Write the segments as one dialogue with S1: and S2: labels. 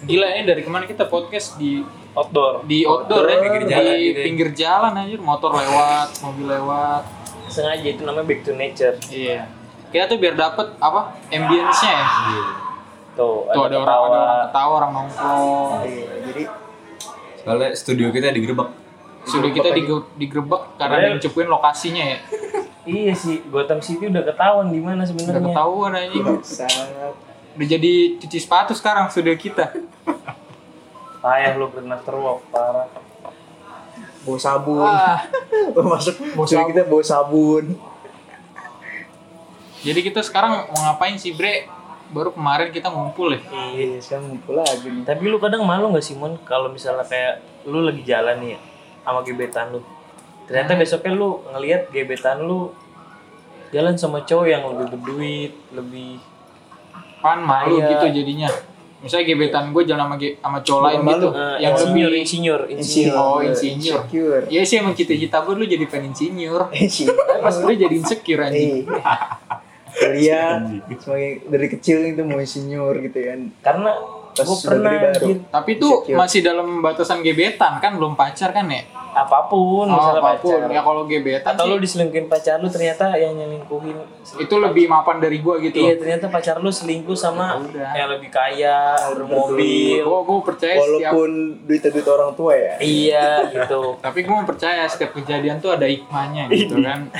S1: Gila ini dari kemarin kita podcast di
S2: outdoor
S1: di outdoor ya, di,
S2: Outdoor, pinggir jalan gitu ya.
S1: pinggir jalan aja, motor lewat, mobil lewat.
S2: sengaja itu namanya back to nature
S1: Iya. Kita tuh biar dapet apa ambience-nya ya.
S3: Iya.
S2: tuh
S1: Tuh ada orang ada
S2: ketawa.
S1: orang ketawa, orang nongkrong.
S2: Iya, jadi
S3: Soalnya studio kita digerebek.
S1: Sudah kita dige- digerebek karena
S2: Padahal-
S1: dicepuin lokasinya ya.
S2: iya sih Gotham City udah ketahuan di mana
S1: Udah
S2: sebenarnya
S1: ketahuan
S2: Iya.
S1: aja. Udah jadi cuci sepatu sekarang sudah kita.
S2: payah lu berenang terwok parah
S4: bawa sabun
S1: Wah.
S4: masuk
S1: Bawa
S4: studio
S1: sabun.
S4: kita bawa sabun
S1: Jadi kita sekarang mau ngapain sih Bre? Baru kemarin kita ngumpul ya.
S2: iya
S4: iya sekarang ngumpul lagi nih
S2: tapi lu kadang malu nggak sih mon kalau misalnya kayak lu lagi jalan nih ya sama gebetan lu ternyata besoknya lu ngelihat gebetan lu jalan sama cowok yang lebih berduit lebih
S1: Pan malu
S2: Iya.
S1: gitu jadinya. Misalnya gebetan gue jalan sama, ge- sama cowok lain
S4: Bukan
S1: gitu.
S4: malu,
S2: eh,
S1: yang
S2: insinyur,
S1: lebih
S2: insinyur insinyur
S1: Oh, insinyur.
S4: Insecure.
S1: Ya sih emang cita-cita gue lu jadi pengen senior.
S4: Insecure.
S1: Tapi pas gue jadi insecure anjing.
S4: Eh, kuliah semakin dari kecil itu mau insinyur gitu kan
S2: karena
S4: Pas
S2: gue
S4: sudah
S2: pernah
S4: gede baru.
S2: anjir,
S1: Tapi itu
S4: Insecure. Hmm,
S1: masih dalam batasan gebetan kan belum pacar kan ya? Oh,
S2: apapun misalnya
S1: apapun.
S2: pacar
S1: Ya kalau gebetan
S2: atau
S1: sih,
S2: lu diselingkuhin pacar lu ternyata yang nyelingkuhin
S1: itu lebih mapan dari gue gitu.
S2: iya ternyata pacar lu selingkuh sama
S1: Udah.
S2: yang lebih kaya bermobil
S1: Gue gue percaya setiap
S4: walaupun duit duit orang tua ya
S2: iya gitu
S1: tapi gue percaya setiap kejadian tuh ada hikmahnya gitu kan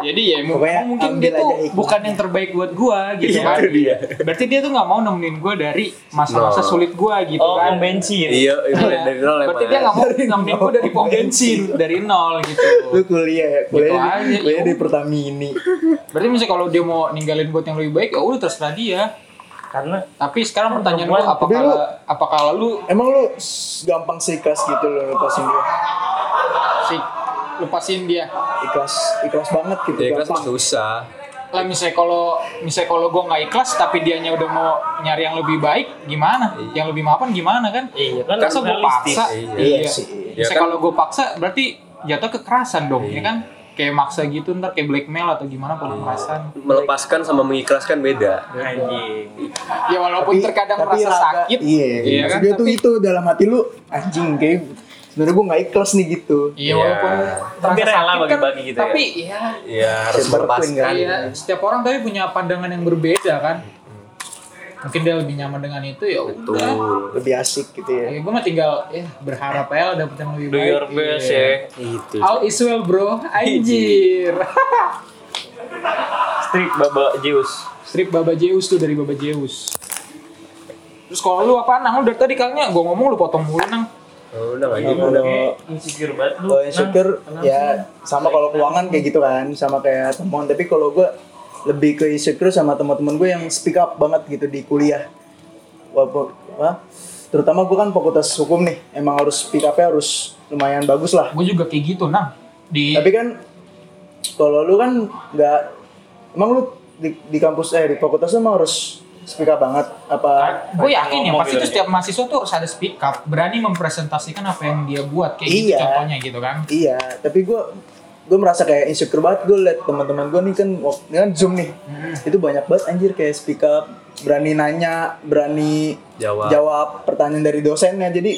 S1: jadi ya mu-
S4: Iya. Pokoknya
S1: mungkin
S4: ambil
S1: dia tuh
S4: aja hikmahnya. Iya,
S1: bukan yang terbaik buat gue gitu kan
S3: dia.
S1: berarti dia tuh nggak mau nemenin gue dari masa-masa
S3: No.
S1: sulit gue gitu
S2: oh
S1: kan
S2: pom bensin
S3: Iya, itu
S1: Iya.
S3: dari nol ya.
S1: berarti
S3: Mas.
S1: dia nggak mau nemenin gue dari pom bensin dari nol gitu
S4: lu kuliah ya kuliah
S1: Gitu
S4: di,
S1: aja,
S4: kuliah
S1: iya.
S4: di Pertamini
S1: berarti misalnya kalau dia mau ninggalin buat yang lebih baik ya udah terserah dia
S2: karena
S1: tapi sekarang pertanyaan gue
S2: Perempuan,
S1: apakah
S4: tapi lu-
S1: apakah lu
S4: emang lu s- gampang seikhlas gitu lo lepasin dia
S1: sih lepasin dia
S4: ikhlas ikhlas banget gitu
S3: Ya kelas
S4: gampang
S3: susah.
S1: lah misalnya kalau misalnya kalau gue nggak ikhlas tapi dianya udah mau nyari yang lebih baik gimana yang lebih mapan gimana kan
S2: iya kan
S1: masa gue
S2: realistis.
S1: paksa
S3: Iya.
S4: Iya sih.
S1: misalnya
S3: Ya kan?
S1: kalau gue paksa berarti jatuh kekerasan dong ya kan kayak maksa gitu ntar kayak blackmail atau gimana pola perasaan
S3: Melepaskan sama mengikhlaskan beda.
S2: anjing
S1: ya walaupun terkadang merasa
S4: raga-
S1: sakit
S4: iya,
S1: iya kan
S4: dia tuh
S1: tapi,
S4: itu dalam hati lu anjing kayak sebenarnya gue nggak ikhlas nih gitu
S1: iya walaupun
S3: Iya.
S2: Tapi
S1: terasa
S2: rela
S1: sakit kan,
S2: bagi-bagi gitu ya.
S1: tapi ya
S3: Ya harus
S4: Siapa lakuin
S3: melepaskan.
S4: kan?
S1: iya, setiap orang tapi punya pandangan yang berbeda kan mungkin dia lebih nyaman dengan itu ya udah
S3: Betul.
S4: lebih asik gitu ya
S1: Ya, gue mah tinggal ya berharap aja lah dapet yang lebih
S2: do
S1: baik.
S2: your best
S1: Iya.
S2: ya
S3: Itu.
S1: All is well bro, anjir.
S2: strik baba Zeus
S1: Strip Baba Zeus tuh dari Baba Zeus. Terus kalau lu apa nang lu dari tadi kayaknya gue ngomong lu potong mulu nang.
S3: Oh, udah lagi.
S4: Kalau-
S2: insecure banget lu Nah,
S4: kalau Oh, insecure ya sama kalau keuangan kayak gitu kan sama kayak temuan tapi kalau gue lebih ke insecure sama teman-teman gue yang speak up banget gitu di kuliah walaupun apa, terutama gue kan fakultas hukum nih emang harus speak upnya harus lumayan bagus lah
S1: Gue juga kayak gitu nang. Di
S4: tapi kan kalau lu kan nggak emang lu di, di kampus eh di fakultas lu emang harus speak up banget
S3: Kan?
S4: apa
S1: gue yakin ya
S2: ngomong
S1: pasti itu
S2: gitu
S1: setiap mahasiswa tuh harus ada speak up, berani mempresentasikan apa yang dia buat kayak gitu
S4: Iya.
S1: contohnya gitu kan.
S4: Iya, tapi gue gue merasa kayak insecure banget gue liat teman-teman gue nih kan waktu kan zoom nih
S3: Hmm.
S4: itu banyak banget anjir kayak speak up berani nanya berani
S3: Jawab.
S4: jawab pertanyaan dari dosennya jadi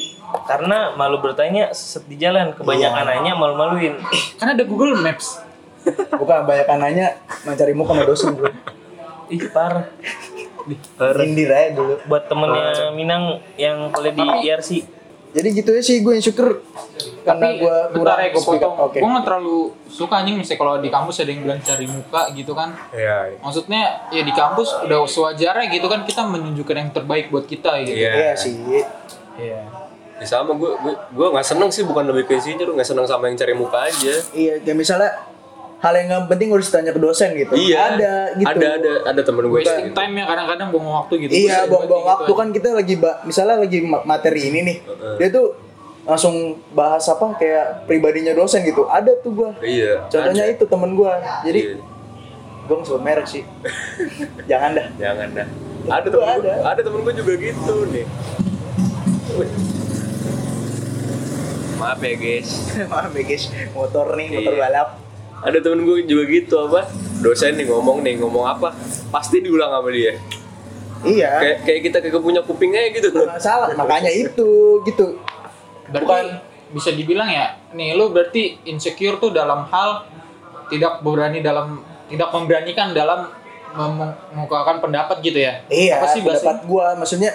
S2: karena malu bertanya seset di jalan
S4: Iya.
S2: kebanyakan nanya malu-maluin
S1: Karena ada Google Maps.
S4: bukan banyak nanya mencari muka sama dosen bro
S2: ih parah
S4: sindir aja dulu
S2: buat temennya Minang yang kuliah di E IRC
S4: jadi gitu ya sih gue insecure karena
S1: Tapi
S4: gue kurang
S1: bentar ya gue
S4: speak up
S1: potong.
S4: oke
S1: Gue nggak terlalu suka anjing misalnya kalau di kampus ada yang bilang cari muka gitu kan.
S3: Iya.
S1: Maksudnya ya di kampus udah sewajarnya gitu kan kita menunjukkan yang terbaik buat kita gitu.
S3: Iya.
S4: iya sih
S1: Iya.
S3: Ya sama gue gue gue nggak seneng sih bukan lebih ke sini nggak seneng sama yang cari muka aja.
S4: iya kayak misalnya hal yang gak penting harus ditanya ke dosen gitu ada
S3: Iya,
S4: gitu
S3: Ada ada ada temen gue kayak
S1: Wasting
S3: gitu.
S1: time ya kadang-kadang buang waktu gitu.
S4: Iya,
S1: Gua
S4: buang-buang
S1: gitu
S4: waktu
S1: aja.
S4: kan kita lagi ba- misalnya lagi ma- materi ini nih.
S3: Heeh.
S4: Dia tuh langsung bahas apa kayak pribadinya dosen gitu. Ada tuh gua.
S3: Iya.
S4: Contohnya
S3: ada.
S4: itu temen gua.
S3: Iya.
S4: Jadi gua nggak sebut merek sih. Jangan dah.
S3: jangan dah. Ada
S4: Itu
S3: temen
S4: ada.
S3: ada. ada temen gue juga gitu nih. Wih. Maaf ya guys.
S4: Maaf ya guys, motor nih, motor
S3: Iya.
S4: balap.
S3: ada temen gue juga gitu apa dosen nih ngomong nih ngomong apa pasti diulang sama dia
S4: Iya.
S3: Kayak kayak kita kagak punya kupingnya gitu.
S4: Nggak salah. Makanya itu gitu.
S1: Berarti bisa dibilang ya, nih lu berarti insecure tuh dalam hal tidak berani dalam tidak memberanikan dalam mem- mengemukakan pendapat gitu ya.
S4: Iya,
S1: Apa sih bahasanya?
S4: pendapat gue maksudnya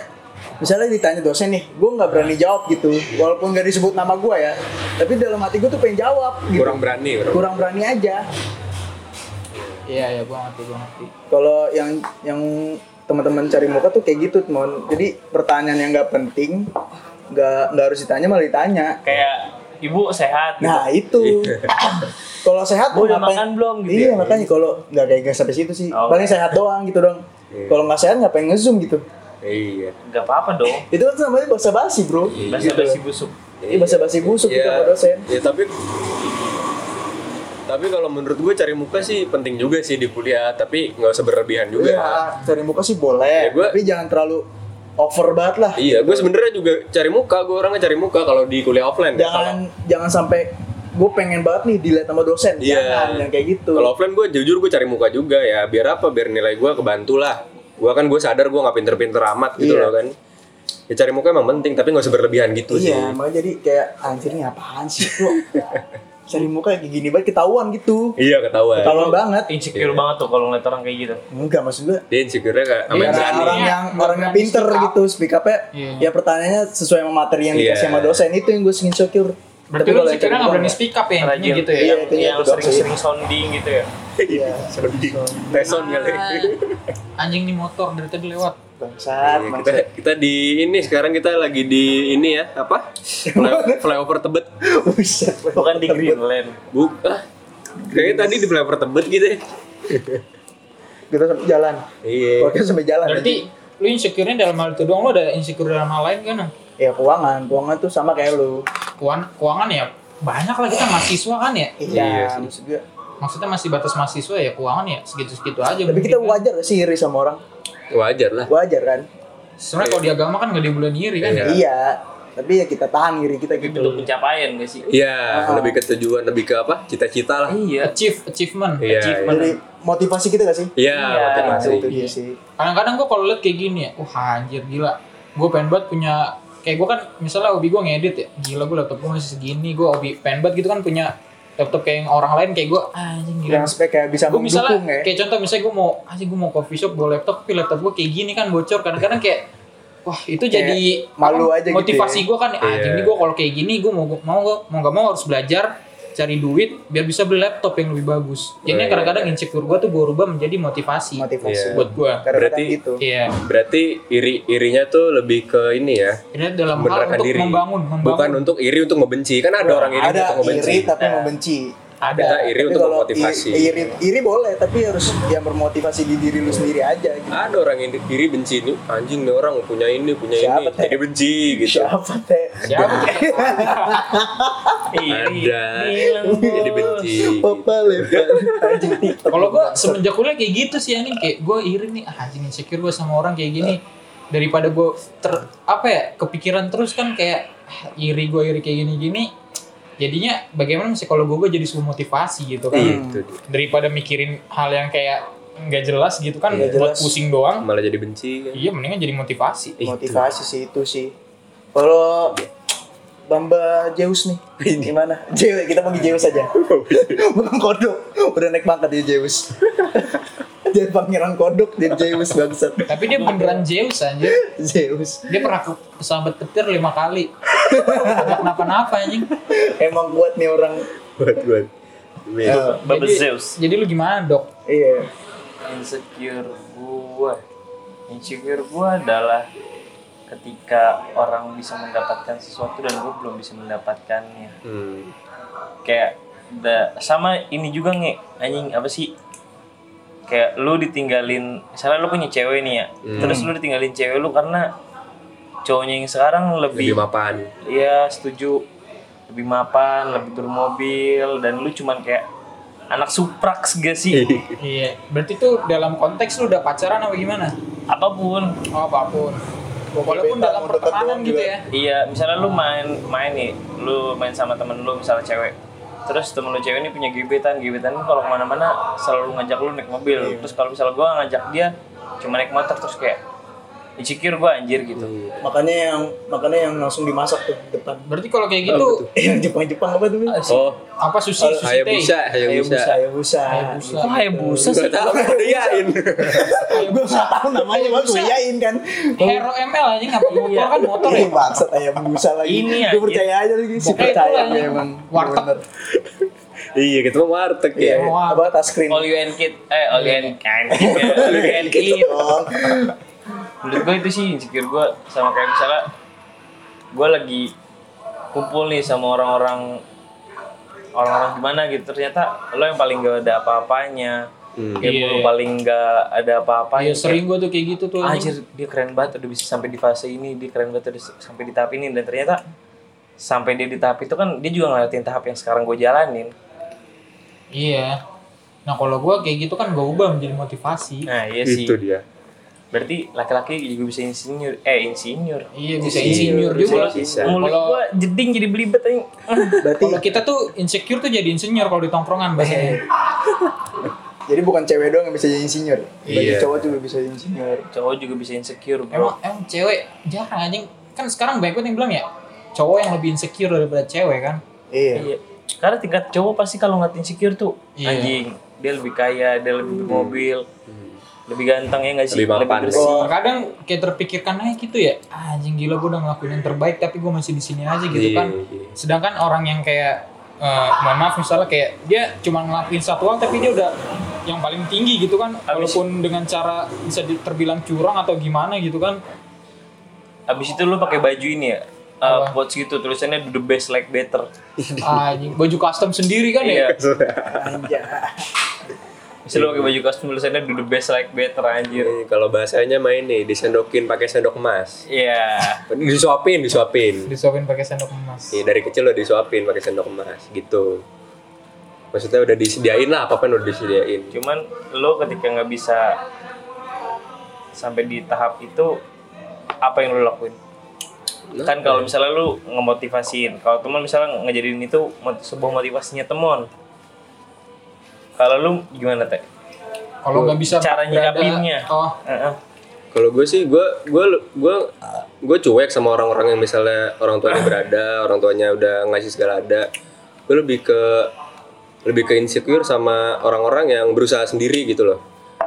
S4: misalnya ditanya dosen nih, gue nggak berani jawab gitu, walaupun nggak disebut nama gue ya, tapi dalam hati gue tuh pengen jawab, gitu.
S3: Kurang berani, kurang.
S4: kurang berani aja.
S1: Iya, iya gua ngerti, gua ngerti.
S4: Kalau yang yang teman-teman cari muka tuh kayak gitu, teman. Jadi pertanyaan yang nggak penting, nggak nggak harus ditanya malah ditanya.
S2: kayak ibu sehat gitu.
S4: Nah
S3: Iya.
S4: itu, kalau sehat
S2: Bu, udah
S4: ngapain-
S2: makan belum, gitu
S4: Iya
S2: ya?
S4: makanya kalau nggak kayak nggak sampai situ sih,
S2: Oh.
S4: paling sehat doang gitu dong.
S3: Iya.
S4: Kalau nggak sehat ngapain ngezoom gitu?
S3: Iya.
S2: Gak apa-apa dong.
S4: Itu kan namanya bahasa basi bro. Gitu
S2: Bahasa
S3: Iya.
S2: basi busuk.
S4: Ini basa-basi busuk
S3: Iya.
S4: kita sama dosen.
S3: Ya tapi tapi kalau menurut gue cari muka sih penting juga sih di kuliah, tapi nggak usah berlebihan juga.
S4: Iya, cari muka sih boleh,
S3: Ya, gua-
S4: tapi jangan terlalu over banget lah.
S3: Iya, gue sebenarnya juga cari muka, gue orangnya cari muka kalau di kuliah offline. ya.
S4: Jangan jangan sampai gue pengen banget nih dilihat sama dosen.
S3: Iya.
S4: Jangan yang kayak gitu.
S3: Kalau kalau offline gue jujur gue cari muka juga ya, biar apa? Biar nilai gue kebantu lah. Gue kan gue sadar gue nggak pinter-pinter amat gitu
S4: Iya.
S3: loh kan. Ya cari muka emang penting, tapi nggak usah berlebihan gitu sih.
S4: iya, makanya jadi kayak anjir nih apaan sih bro? cari muka kayak gini banget ketahuan gitu.
S3: Iya ketahuan.
S4: Ketahuan banget.
S2: Insecure banget tuh kalau ngeliat orang kayak gitu.
S4: Enggak maksud gue
S3: Dia insecure-nya kayak sama
S1: Iya,
S3: yang
S4: Karena
S3: berani.
S4: orang yang
S1: Nggak
S4: orang yang
S1: berani
S4: pinter
S1: speak up.
S4: gitu speak up
S1: Iya.
S4: ya pertanyaannya sesuai sama materi yang dikasih
S3: Iya.
S4: sama dosen itu yang gue insecure.
S1: Berarti
S4: Tapi
S1: lu
S4: kalau gitu, yang
S1: insecure
S4: cari
S1: nggak
S4: muka
S1: berani
S4: nggak.
S1: speak up ya, intinya
S2: Rajin.
S1: gitu ya.
S4: Iya, itu
S2: yang
S4: itu doang
S2: sering-sering sounding gitu ya.
S4: Iya.
S3: Sounding. Tes sound kali.
S1: Anjing nih motor dari tadi lewat.
S4: Bangsat,
S3: Iya, kita
S4: bangsat.
S3: kita di ini sekarang kita lagi di ini ya apa Fly- flyover tebet
S4: Buset,
S2: Bukan di Greenland.
S3: bu ah, kayaknya tadi di flyover tebet gitu ya
S4: Kita sampai Gitu, jalan.
S3: iya
S4: Pokoknya sampai jalan.
S1: Berarti lu insecure-nya dalam hal itu doang, lu ada insecure dalam hal lain kan?
S4: Ya keuangan, keuangan tuh sama kayak lu.
S1: Keuangan, keuangan ya banyak lah kita mahasiswa kan ya.
S3: Iya
S4: Iya,
S3: sih.
S4: maksud gue.
S1: Maksudnya masih batas mahasiswa ya keuangan ya segitu-segitu aja.
S4: Tapi
S1: mungkin
S4: kita
S1: kan.
S4: wajar gak sih iri sama orang?
S3: wajar lah
S4: Wajar kan?
S1: Sebenarnya kalau di agama kan nggak dibolehin iri kan ya.
S3: Iya.
S4: Iya. Tapi ya kita tahan iri kita
S2: Tapi
S4: gitu.
S2: bentuk pencapaian gak sih?
S3: Iya, lebih ke tujuan, lebih ke apa? Cita-cita lah.
S2: Iya.
S1: Achieve, achievement.
S3: Iya,
S1: achievement.
S4: Jadi motivasi kita gak sih?
S3: Iya,
S2: Iya.
S3: motivasi.
S4: Nah, itu dia sih.
S1: Kadang-kadang gue kalau liat kayak gini ya, wah anjir gila. Gue pengen banget punya kayak gue kan misalnya hobi gue ngedit ya, gila gue laptop gue masih segini, gue hobi pengen banget gitu kan punya laptop kayak yang orang lain kayak gue anjing gila.
S4: Yang supaya kayak bisa
S1: gue Iya. misalnya
S4: mendukung ya.
S1: kayak contoh misalnya gue mau anjing gue mau coffee shop gue laptop tapi laptop gue kayak gini kan bocor kadang-kadang kayak wah itu
S4: Kayak
S1: jadi
S4: malu aja gitu
S1: motivasi
S4: ya.
S1: gue kan anjing
S3: Iya.
S1: ini gue kalau kayak gini gue mau mau gua- mau nggak mau harus belajar cari duit biar bisa beli laptop yang lebih bagus jadinya
S3: Right.
S1: kadang-kadang insecure gue tuh gue rubah menjadi motivasi,
S4: Motivasi.
S3: Iya.
S1: buat gue
S4: Kadang-kadang
S3: Berarti-
S4: gitu.
S1: iya
S3: Berarti iri irinya tuh lebih ke ini ya.
S1: ini dalam hal
S3: Membenarkan
S1: untuk
S3: diri.
S1: membangun
S3: Bukan
S1: membangun
S3: untuk iri untuk membenci. Kan ada orang iri
S4: Ada
S3: untuk membenci.
S4: iri tapi membenci.
S1: Iya. ada
S3: Kita iri
S4: Tapi
S3: untuk
S4: kalau
S3: memotivasi.
S4: i- Iri, iri boleh, tapi harus yang bermotivasi di diri lu sendiri aja gitu.
S3: Ada orang yang iri benci ini anjing nih orang punya ini punya
S4: Siapa,
S3: ini
S4: Teh?
S3: jadi benci gitu.
S4: Siapa teh?
S1: siapa tuh?
S3: Ada
S2: Iya. Bilang
S3: jadi benci. Iya.
S4: Papa lebar. Anjing TikTok.
S1: Kalau gue semenjak kuliah kayak gitu sih anjing kayak gue iri nih ah anjing insecure gue sama orang kayak gini daripada gue ter apa ya kepikiran terus kan kayak ah, iri gue iri kayak gini gini jadinya bagaimana psikolog gue jadi sebuah motivasi gitu kan
S4: Iya.
S3: Itu dia.
S1: daripada mikirin hal yang kayak nggak jelas gitu kan
S4: Nggak
S1: buat
S4: jelas.
S1: pusing doang
S3: malah jadi benci. kan.
S1: iya mendingan jadi motivasi
S3: Itu.
S4: motivasi sih itu sih kalau Bamba Zeus nih gimana Zeus kita panggil Zeus aja bukan kodok udah naik pangkat dia Zeus dia pangeran kodok dia Zeus bangsat
S1: tapi dia beneran Zeus anjir
S4: Zeus
S1: dia pernah ke kesambet petir lima kali nggak kenapa-napa anjing
S4: emang kuat nih orang
S3: Buat buat.
S4: Eh,
S2: Baba
S1: Jadi-
S2: Zeus.
S1: jadi lu gimana dok
S4: iya
S2: Insecure gua. Insecure gua adalah ketika orang bisa mendapatkan sesuatu dan gua belum bisa mendapatkannya.
S3: Hmm.
S2: kayak da- sama ini juga nge anjing apa sih kayak lu ditinggalin misalnya lu punya cewek nih ya terus lu ditinggalin cewek lu karena cowoknya yang sekarang
S3: Lebih
S2: lebih,
S3: mapan.
S2: ya setuju lebih mapan lebih bermobil dan lu cuman kayak anak supraks gak sih
S1: iya berarti tuh dalam konteks lu udah pacaran apa gimana
S2: apapun
S1: Oh, apapun. Walaupun
S4: Beta
S1: dalam
S4: mau deket
S1: pertemanan
S4: doang
S1: gitu
S4: juga.
S1: ya.
S2: Iya, misalnya lu main main nih, lu main sama temen lu misalnya cewek. Terus temen lu cewek ini punya gebetan, gebetan lu kalau Iya. kemana-mana selalu ngajak lu naik mobil. Terus kalau misalnya gua ngajak dia cuma naik motor terus kayak insecure gue anjir gitu
S4: Makanya yang makanya yang langsung dimasak tuh di depan. Eh,
S1: Berarti kalau kayak gitu
S4: Yang Jepang-Jepang apa tuh?
S3: Oh,
S1: apa sushi sushi
S3: saya
S1: teh?
S3: bisa, saya bisa.
S4: Hayabusa. Hayabusa.
S2: Kok Hayabusa
S3: Gak
S2: sih?
S3: tahu kuliahin.
S4: Gue nggak tahu namanya, gue kuliahin kan.
S1: Hero ML aja nggak pakai motor kan motor ya.
S4: Ih, bangsat Hayabusa lagi.
S2: Ini
S4: gue
S2: anjir.
S4: percaya aja lagi sih
S1: Pokoknya
S4: percaya
S1: itu lah,
S4: memang.
S1: warteg.
S4: Bener.
S3: Iya, kita mah warteg ya.
S4: Iya,
S1: Wah.
S4: apa tas krim?
S2: all you and kid eh all you and kind all you and kid
S4: Oh,
S2: menurut gue itu sih insecure gue sama kayak misalnya gue lagi kumpul nih sama orang-orang orang-orang gimana gitu ternyata lo yang paling gak ada apa-apanya
S3: Hmm.
S2: kayak
S1: Iya, iya.
S2: lo paling gak ada apa-apa
S1: Iya sering gua tuh kayak gitu tuh. anjing.
S2: anjir dia keren banget udah bisa sampai di fase ini dia keren banget udah s- sampai di tahap ini dan ternyata sampai dia di tahap itu kan dia juga ngeliatin tahap yang sekarang gue jalanin
S1: Iya. Nah kalau gua kayak gitu kan gua ubah menjadi motivasi.
S2: nah iya sih
S3: Itu Gitu dia.
S2: berarti laki-laki juga bisa insinyur eh insinyur
S1: Iya bisa insinyur juga.
S3: Bisa.
S2: mulut
S1: Kalau-
S2: gua jeding jadi belibet aja
S4: berarti
S1: Kalau kita tuh insecure tuh jadi insinyur kalau di tongkrongan bahasanya.
S4: jadi bukan cewek doang yang bisa jadi insinyur. Bagi
S3: Iya.
S4: cowok juga bisa jadi insinyur.
S2: cowok juga bisa insecure bro
S1: Emang emang cewek jarang anjing. Kan sekarang banyak banget yang bilang ya cowok yang lebih insecure daripada cewek kan.
S4: Iya.
S2: iya karena tingkat cowok pasti kalau nggak insecure tuh
S1: Iya.
S2: anjing dia lebih kaya dia lebih bermobil lebih ganteng ya nggak sih
S3: Lebih mapan.
S2: bersih
S4: Oh.
S1: Kadang kayak terpikirkan aja gitu ya. "Ah, Anjing gila gua udah ngelakuin yang terbaik tapi gua masih di sini aja gitu
S3: Iya,
S1: kan.
S3: iya.
S1: Sedangkan orang yang kayak eh, mohon maaf misalnya kayak dia cuma ngelakuin satu hal tapi dia udah yang paling tinggi gitu kan
S2: Habis-
S1: walaupun dengan cara bisa di- terbilang curang atau gimana gitu kan
S2: abis itu lu pakai baju ini ya uh,
S1: Apa?
S2: quotes gitu tulisannya the best like better
S1: anjing baju custom sendiri kan ya
S2: iya
S4: Anjay.
S2: bisa lu pakai baju kostum tulisannya do the best like better anjir
S3: Nih, Hmm, kalau bahasanya main nih, disendokin pakai sendok emas.
S2: iya
S3: Disuapin, disuapin.
S1: disuapin pakai sendok emas
S3: Iya, dari kecil udah disuapin pakai sendok emas gitu. Maksudnya udah disediain lah, apapun udah disediain.
S2: cuman lu ketika nggak bisa sampai di tahap itu apa yang lu lakuin kan kalau misalnya lu ngemotivasiin kalau teman misalnya ngejadiin itu mot- sebuah motivasinya teman kalau lu gimana teh
S1: kalau nggak bisa
S2: Cara
S1: berada-
S2: nyikapinnya.
S1: oh
S2: Heeh.
S3: Kalau gue sih, gue gue gue gue cuek sama orang-orang yang misalnya orang tuanya berada, orang tuanya udah ngasih segala ada. Gue lebih ke lebih ke insecure sama orang-orang yang berusaha sendiri gitu loh,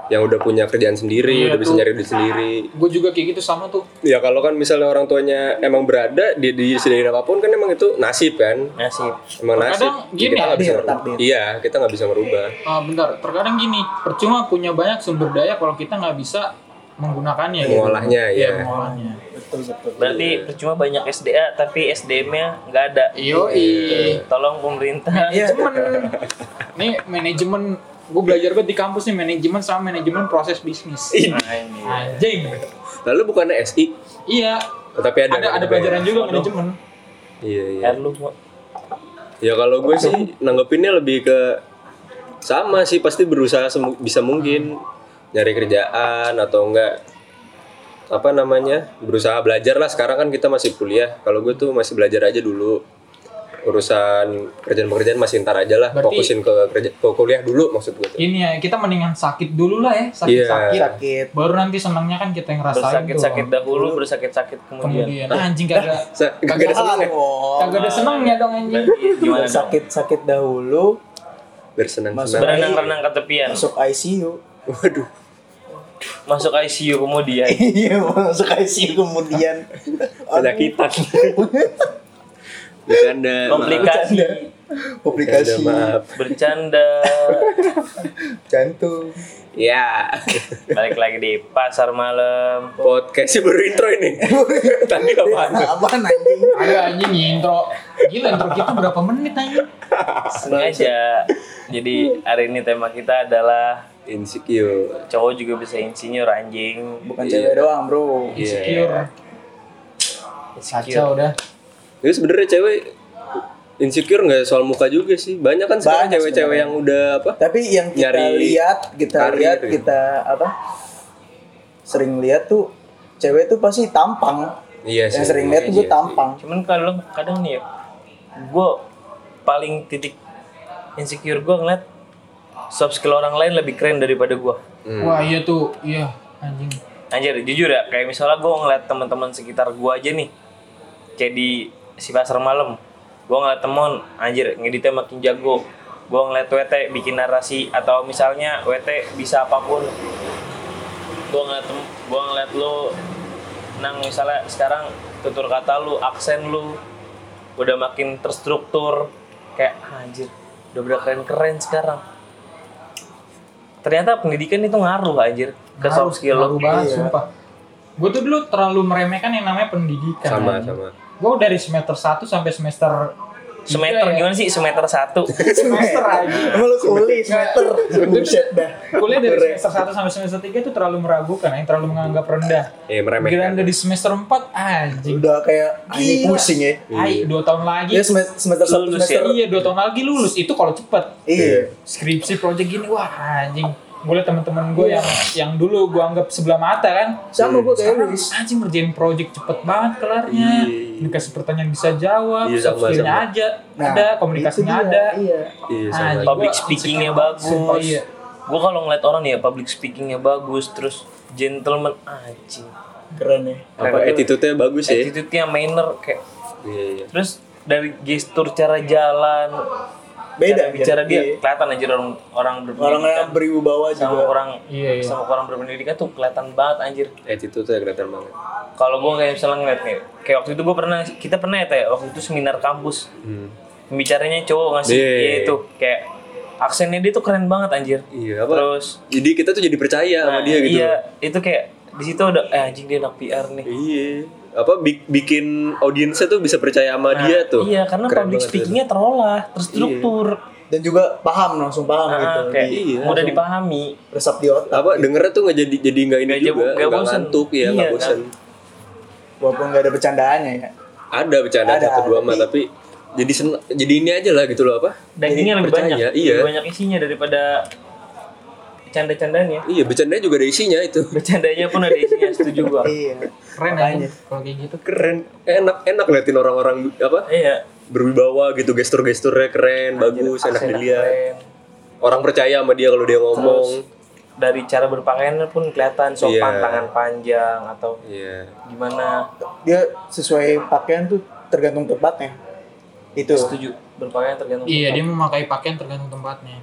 S3: yang udah punya kerjaan sendiri, udah bisa nyari duit sendiri.
S1: gue juga kayak gitu sama tuh
S3: Ya kalau kan misalnya orang tuanya emang berada di di disediain apapun kan emang itu nasib kan,
S2: nasib
S3: emang nasib.
S1: Terkadang
S3: Ya,
S1: gini,
S3: kita nggak bisa
S4: takdir,
S3: merubah.
S4: takdir.
S3: Iya, kita nggak bisa merubah.
S1: Ah, bentar terkadang gini percuma punya banyak sumber daya kalau kita nggak bisa menggunakannya gitu.
S3: Mengolahnya,
S1: iya
S3: ya.
S1: mengolahnya
S4: Betul betul.
S2: berarti percuma banyak SDA tapi SDM-nya nggak ada
S1: Yoi.
S2: tolong pemerintah
S4: Iya.
S1: manajemen nih manajemen gue belajar banget di kampus nih manajemen sama manajemen proses bisnis
S2: Iya. Anjir.
S1: anjing
S3: Lalu bukannya SI,
S1: iya
S3: tapi ada
S1: ada ada
S3: kan?
S1: pelajaran juga manajemen
S3: Iya, iya.
S2: Air lu mau
S3: Ya kalau gue sih nanggepinnya lebih ke sama sih pasti berusaha semu- bisa mungkin nyari kerjaan atau enggak apa namanya berusaha belajar lah sekarang kan kita masih kuliah kalau gue tuh masih belajar aja dulu urusan kerjaan pekerjaan masih ntar aja lah
S1: Berarti-
S3: fokusin ke kerja ke kuliah dulu maksud gue tuh.
S1: ini ya kita mendingan sakit dulu lah ya sakit sakit
S4: Sakit.
S1: baru nanti senangnya kan kita yang ngerasain tuh
S2: bersakit-sakit dahulu bersakit-sakit kemudian
S1: kemudian Ah, anjing kagak
S3: Sa- kagak ada senang ya
S4: Oh.
S1: kagak ada senangnya dong anjing
S2: Berarti gimana dong?
S4: Sakit sakit dahulu
S3: bersenang-senang
S2: berenang-renang ke tepian
S4: masuk ICU.
S3: waduh
S2: masuk ICU kemudian
S4: Iya masuk ICU kemudian.
S3: penyakitan bercanda maaf.
S2: komplikasi
S3: Bercanda,
S4: Komplikasi
S3: maaf
S2: bercanda
S4: jantung.
S3: ya
S2: balik lagi di pasar malam
S3: podcastnya baru intro ini tadi kapan
S4: Apa Nah, anjing?
S1: ada anjing intro gila intro kita berapa menit anjing
S2: sengaja jadi hari ini tema kita adalah
S3: insecure
S2: cowok juga bisa insinyur anjing
S4: Bukan
S3: Iya.
S4: cewek doang bro.
S1: insecure kacau udah
S3: Jadi sebenarnya cewek insecure nggak soal muka juga sih. Banyak kan sekarang
S4: Banyak
S3: cewek-cewek yang udah apa?
S4: Tapi yang kita
S3: Nyari
S4: lihat, kita
S3: karir,
S4: lihat,
S3: gitu.
S4: kita apa? Sering lihat tuh cewek tuh pasti tampang.
S3: Iya
S4: yang sering lihat tuh gue
S3: Iya
S4: tampang.
S2: cuman kalau kadang nih ya gue paling titik insecure gue ngeliat soft skill orang lain lebih keren daripada gue
S3: Hmm.
S1: wah iya tuh iya anjing
S2: anjir jujur ya kayak misalnya gue ngeliat teman-teman sekitar gue aja nih kayak di si pasar malam gue ngeliat temen anjir ngeditnya makin jago gue ngeliat WT bikin narasi atau misalnya WT bisa apapun gue ngeliat tem- gua ngeliat lu nang misalnya sekarang tutur kata lu aksen lu udah makin terstruktur kayak anjir udah udah keren keren sekarang ternyata pendidikan itu ngaruh anjir ke
S1: Ngaruh,
S2: soft skill
S1: ngaruh
S2: lo
S1: banget sumpah gue tuh dulu terlalu meremehkan yang namanya pendidikan
S3: sama sama
S1: gue dari semester 1 sampai semester tiga
S2: Semeter
S1: ya.
S2: gimana sih? Semeter satu.
S4: Iya
S1: semester aja
S4: Emang lu kuli smeter. Buset dah.
S1: kuliah dari semester 1 sampai semester 3 itu terlalu meragukan yang terlalu menganggap rendah
S3: eh
S1: Giliran
S3: meremehkan
S1: dari semester 4 anjing
S4: Udah kayak ah, ini
S1: Gila.
S4: pusing ya.
S1: Ay, dua tahun lagi
S4: Ya semester semester satu
S2: Lulus
S4: semester.
S1: iya dua tahun lagi lulus itu kalau cepet
S4: Iya.
S1: skripsi project gini wah anjing gue liat temen-temen gue yang yang dulu gue anggap sebelah mata kan
S4: Sama gua kayak
S1: sekarang
S4: Luis.
S1: anjing ngerjain project cepet banget kelarnya
S3: Iya.
S1: dikasih pertanyaan bisa jawab
S3: Iya,
S1: soft
S3: sama,
S1: skillnya
S3: sama.
S1: aja ada komunikasinya
S4: Nah, itu dia,
S1: ada
S4: Iya.
S3: iya
S1: Anjing,
S3: sama
S1: gua
S2: Public
S1: insecure
S2: speakingnya
S1: banget,
S2: bagus.
S1: sumpah, iya.
S2: Gue kalau ngeliat orang nih ya public speakingnya bagus, terus gentleman anjing.
S4: Keren ya.
S3: apa attitude-nya bagus ya
S2: Attitude-nya manner kayak
S3: iya iya
S2: terus dari gestur cara jalan
S4: Beda,
S2: cara bicara
S4: Jar.
S2: dia
S4: Iya.
S2: kelihatan aja orang orang
S4: Orang yang
S2: berpendidikan
S4: berwibawa
S2: sama
S4: juga.
S2: orang
S1: Iya, iya.
S2: sama orang berpendidikan tuh kelihatan banget anjir
S3: attitude-nya kelihatan banget
S2: kalau gue kayak misalnya ngeliat nih kayak waktu itu gue pernah kita pernah ya Teh, waktu itu seminar kampus
S3: hmm.
S2: pembicaranya cowok ngasih
S3: Iya.
S2: dia itu kayak aksennya dia tuh keren banget anjir
S3: iya apa
S2: terus
S3: jadi kita tuh jadi percaya
S2: nah,
S3: sama dia gitu
S2: iya itu kayak di situ ada eh, anjing dia anak PR nih
S3: Iya. Apa bi- bikin audiensnya tuh bisa percaya sama dia tuh.
S2: iya karena
S3: Keren
S2: public
S3: banget,
S2: speakingnya terolah terstruktur
S4: Dan juga paham langsung paham
S2: Nah,
S4: gitu.
S2: kayak
S4: Di-
S3: Iya,
S2: mudah dipahami
S4: Resap di otak.
S3: Apa dengernya tuh nggak jadi jadi nggak ini
S2: Nggak
S3: juga,
S2: jabo- nggak
S3: nggak
S2: bosen.
S3: ngantuk ya, nggak
S2: Iya,
S3: bosan.
S4: Walaupun nggak ada bercandaannya ya.
S3: Ada bercanda
S4: Ada,
S3: satu dua mah
S4: tapi-
S3: tapi jadi sen- jadi ini aja lah gitu loh apa?
S2: dagingnya lebih
S3: percaya,
S2: banyak
S3: iya.
S2: lebih banyak isinya daripada canda-candanya
S3: Iya, bercandanya juga ada isinya itu.
S2: bercandanya pun ada isinya setuju gua
S4: Iya.
S1: keren aja
S4: Makanya.
S1: kalau kayak gitu
S3: Keren, enak enak liatin orang-orang apa?
S2: iya
S3: berwibawa gitu gestur-gesturnya keren, bagus, enak
S2: aksen
S3: dilihat.
S2: keren.
S3: Orang percaya sama dia kalau dia ngomong.
S2: dari cara berpakaiannya pun kelihatan sopan
S3: Iya.
S2: tangan panjang atau
S3: Iya.
S2: gimana
S4: Dia sesuai pakaian tuh tergantung tempatnya. Gitu. Itu.
S2: setuju berpakaian tergantung
S1: iya dia
S2: tempat.
S1: memakai pakaian tergantung tempatnya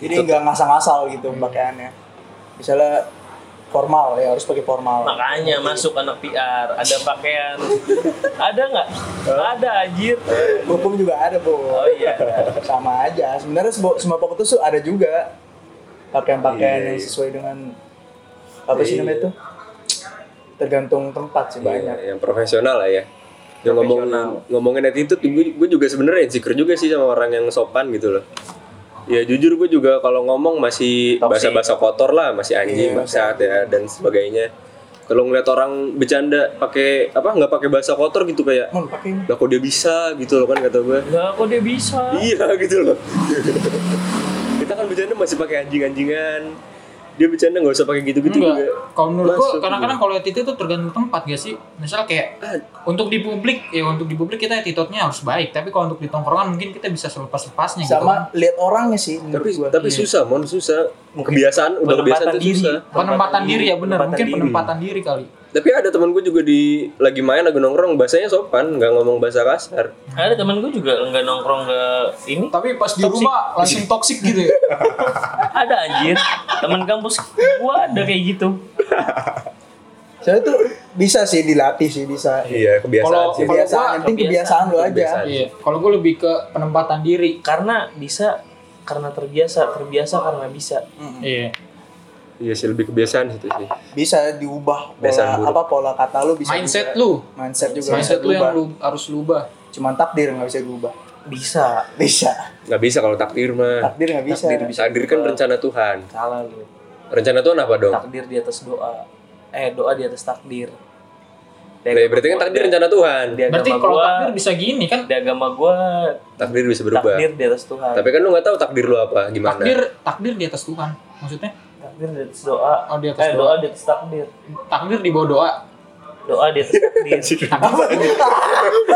S4: Jadi nggak ngasal-ngasal gitu pakaiannya. Misalnya formal ya harus pakai formal.
S2: makanya masuk anak PR ada pakaian ada nggak ada anjir
S4: Hukum juga ada,
S2: oh
S4: Bo.
S2: iya
S4: Sama aja. Sebenarnya semua, semua fakultas tuh ada juga pakaian-pakaian
S3: Iya,
S4: yang
S3: iya.
S4: sesuai dengan apa sih
S3: Iya.
S4: namanya itu? Tergantung tempat sih banyak.
S3: Iya, yang profesional lah ya. Yang ngomong ngomongin attitude, gue, gue juga sebenarnya insecure juga sih sama orang yang sopan gitu loh. Ya jujur gue juga kalau ngomong masih
S2: Toxic.
S3: bahasa-bahasa kotor lah, masih anjing,
S4: Iya,
S3: bangsat ya dan sebagainya. Kalau ngeliat orang bercanda pakai apa nggak pakai bahasa kotor gitu kayak,
S4: Mon, pakai
S3: lah kok dia bisa gitu loh kan kata gue.
S2: lah kok dia bisa
S3: Iya gitu loh. Kita kan bercanda masih pakai anjing-anjingan. Dia bercanda nggak usah pakai gitu-gitu
S1: Enggak.
S3: juga.
S1: Kalau menurut gua
S3: Masuk
S1: kadang-kadang kalau attitude itu tergantung tempat gak sih? Misal kayak untuk di publik ya untuk di publik kita attitude-nya harus baik, tapi kalau untuk di tongkrongan mungkin kita bisa selepas-lepasnya gitu.
S4: sama lihat orangnya sih
S3: tapi
S4: menurut gua.
S3: tapi susah mon susah kebiasaan udah kebiasaan
S2: penempatan
S3: tuh
S2: diri
S3: susah
S1: Penempatan diri ya benar, mungkin
S2: diri.
S1: penempatan diri kali.
S3: tapi ada teman gue juga di lagi main lagi nongkrong bahasanya sopan nggak ngomong bahasa kasar
S2: ada temen gue juga nggak nongkrong ke ini
S1: Tapi pas di rumah langsung toksik gitu ya.
S2: ada anjir temen kampus gua ada kayak gitu
S4: Saya tuh bisa sih dilatih sih bisa.
S3: iya kebiasaan
S1: Kalau-
S3: sih
S1: kalau-
S4: Kebiasaan,
S1: gua-
S4: yang penting kebiasaan lu aja.
S3: kebiasaan.
S1: Iya, kalau gua lebih ke penempatan diri.
S2: karena bisa karena terbiasa terbiasa karena bisa
S1: Iya.
S3: iya sih lebih kebiasaan sih itu sih
S4: Bisa diubah
S3: Kebiasaan
S4: pola
S3: buruk.
S4: apa pola kata lu bisa
S1: Mindset
S4: juga.
S1: lu.
S4: Mindset juga
S1: Mindset
S4: bisa
S1: lu yang
S4: diubah.
S1: lu harus lubah.
S4: Cuman takdir nggak bisa diubah.
S2: bisa
S4: Bisa.
S3: nggak bisa kalau takdir mah
S4: Takdir nggak bisa.
S2: Takdir bisa.
S3: takdir kan rencana Tuhan
S2: salah lu
S3: rencana Tuhan apa dong
S2: takdir di atas doa eh doa di atas takdir
S3: Lah, ya berarti kan takdir rencana Tuhan
S4: Ya,
S2: di agama
S1: Berarti kalau
S2: gua
S1: takdir bisa gini kan
S2: di agama gua
S3: takdir bisa berubah
S2: takdir di atas Tuhan
S3: tapi kan lu nggak tahu takdir lu apa gimana
S1: takdir takdir di atas Tuhan. Maksudnya
S2: takdir di atas doa
S1: Oh, di atas
S2: eh doa.
S1: doa.
S2: di atas takdir
S1: takdir di bawah doa.
S2: doa di atas takdir
S4: Apa?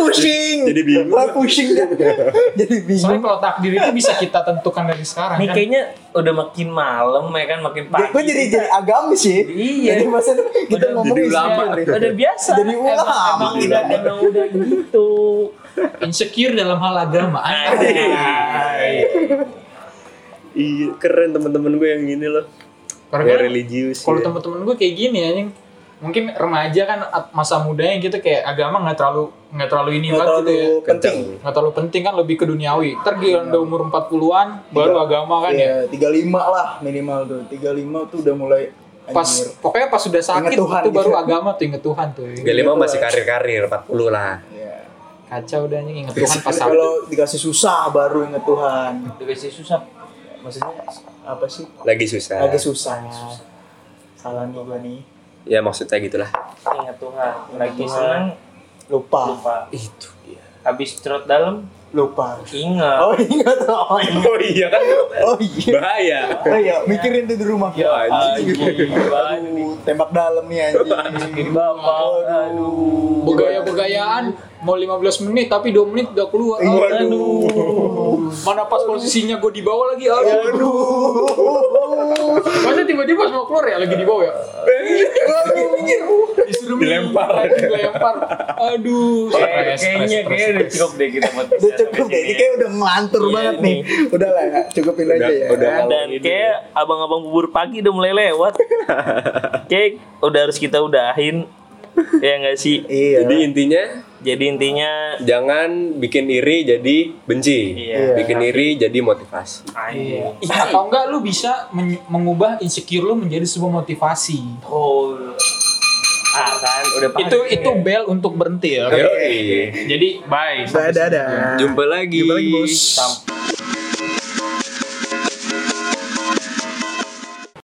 S4: pusing.
S3: Jadi bingung.
S4: Wah, pusing. ya. Jadi
S1: Soalnya
S4: bingung.
S1: kalau takdir itu bisa kita tentukan dari sekarang
S2: ini
S1: kan.
S2: kayaknya udah makin malam ya kan makin pagi
S4: Gue jadi jadi agamis sih.
S2: Iya.
S4: Jadi maksudnya kita
S2: Udah
S4: ngomongin
S3: jadi ulama.
S4: sendiri.
S2: udah biasa
S4: gitu. Jadi ulama.
S2: emang, emang udah emang udah gitu
S1: Insecure dalam hal agama.
S2: Anjay.
S3: Iya, keren teman-teman gue yang gini loh.
S1: Karena
S3: Kayak
S1: kan
S3: religius.
S1: kalau
S3: ya.
S1: temen-temen gue kayak gini ya, yang mungkin remaja kan at- masa mudanya gitu kayak agama nggak terlalu nggak terlalu ini
S4: Nggak
S1: banget gitu
S4: terlalu
S1: ya.
S4: penting.
S1: Nggak terlalu penting kan lebih ke duniawi. Ntar gila udah umur 40-an baru agama kan ya.
S4: Iya, 35 lah minimal tuh. 35 tuh udah mulai
S1: Pas
S4: anjir.
S1: pokoknya pas sudah sakit
S4: Ingat Tuhan
S1: itu baru
S4: gitu.
S1: agama tuh inget Tuhan tuh.
S3: Tiga lima masih karir-karir, 40 lah.
S4: Iya.
S1: Kacau udah anjing inget Tuhan pas sakit.
S4: Kalau dikasih susah baru inget Tuhan.
S2: dikasih susah maksudnya
S4: Apa sih?
S3: Lagi Kan? susah.
S4: Lagi susah. Salah nih gua nih.
S3: Ya maksudnya gitulah.
S2: ingat Tuhan lagi
S4: Tuhan.
S2: senang
S4: Lupa.
S2: lupa
S3: Itu dia.
S2: habis cerut dalam
S4: Lupa.
S2: ingat
S4: Oh ingat oh iya.
S3: Oh iya kan
S4: Oh iya.
S3: bahaya.
S4: Oh iya, mikirin tuh di rumah.
S3: Ya, anjing.
S2: anjing
S4: Aduh, tembak dalam nih anjing.
S2: bapak aduh
S1: Begaya-begayaan mau 15 menit tapi 2 menit udah keluar.
S3: Waduh.
S1: Mana pas posisinya gue di bawah lagi.
S4: Iya,
S1: Aduh.
S4: Aduh.
S1: Masa tiba-tiba pas mau keluar ya lagi di bawah ya? Disuruh
S3: Dilempar.
S1: minum, aduh, dilempar. Aduh, stres,
S2: Kayak-
S1: stres,
S2: kayaknya
S1: stres,
S2: kayaknya udah
S1: stres.
S2: cukup deh kita buat ya.
S4: Udah cukup deh, ini kayak udah ngelantur
S2: Iya,
S4: banget
S2: ini.
S4: nih. Udah lah, ya, cukupin
S3: Udah-
S4: aja ya.
S3: udah.
S2: dan kayak abang-abang bubur pagi udah mulai lewat kayak udah harus kita udahin ya nggak sih
S4: Iya.
S3: Jadi intinya
S2: jadi intinya
S3: jangan bikin iri jadi benci.
S2: Iya.
S3: Bikin iri jadi motivasi.
S2: anjing
S1: Ih, Atau enggak lu bisa men- mengubah insecure lu menjadi sebuah motivasi.
S2: oh ah kan udah pagi
S1: Itu itu bel untuk berhenti ya.
S3: Yoi.
S1: Jadi bye.
S4: Dadah.
S3: Jumpa lagi.
S4: Jumpa lagi, Bos.
S2: Sampai-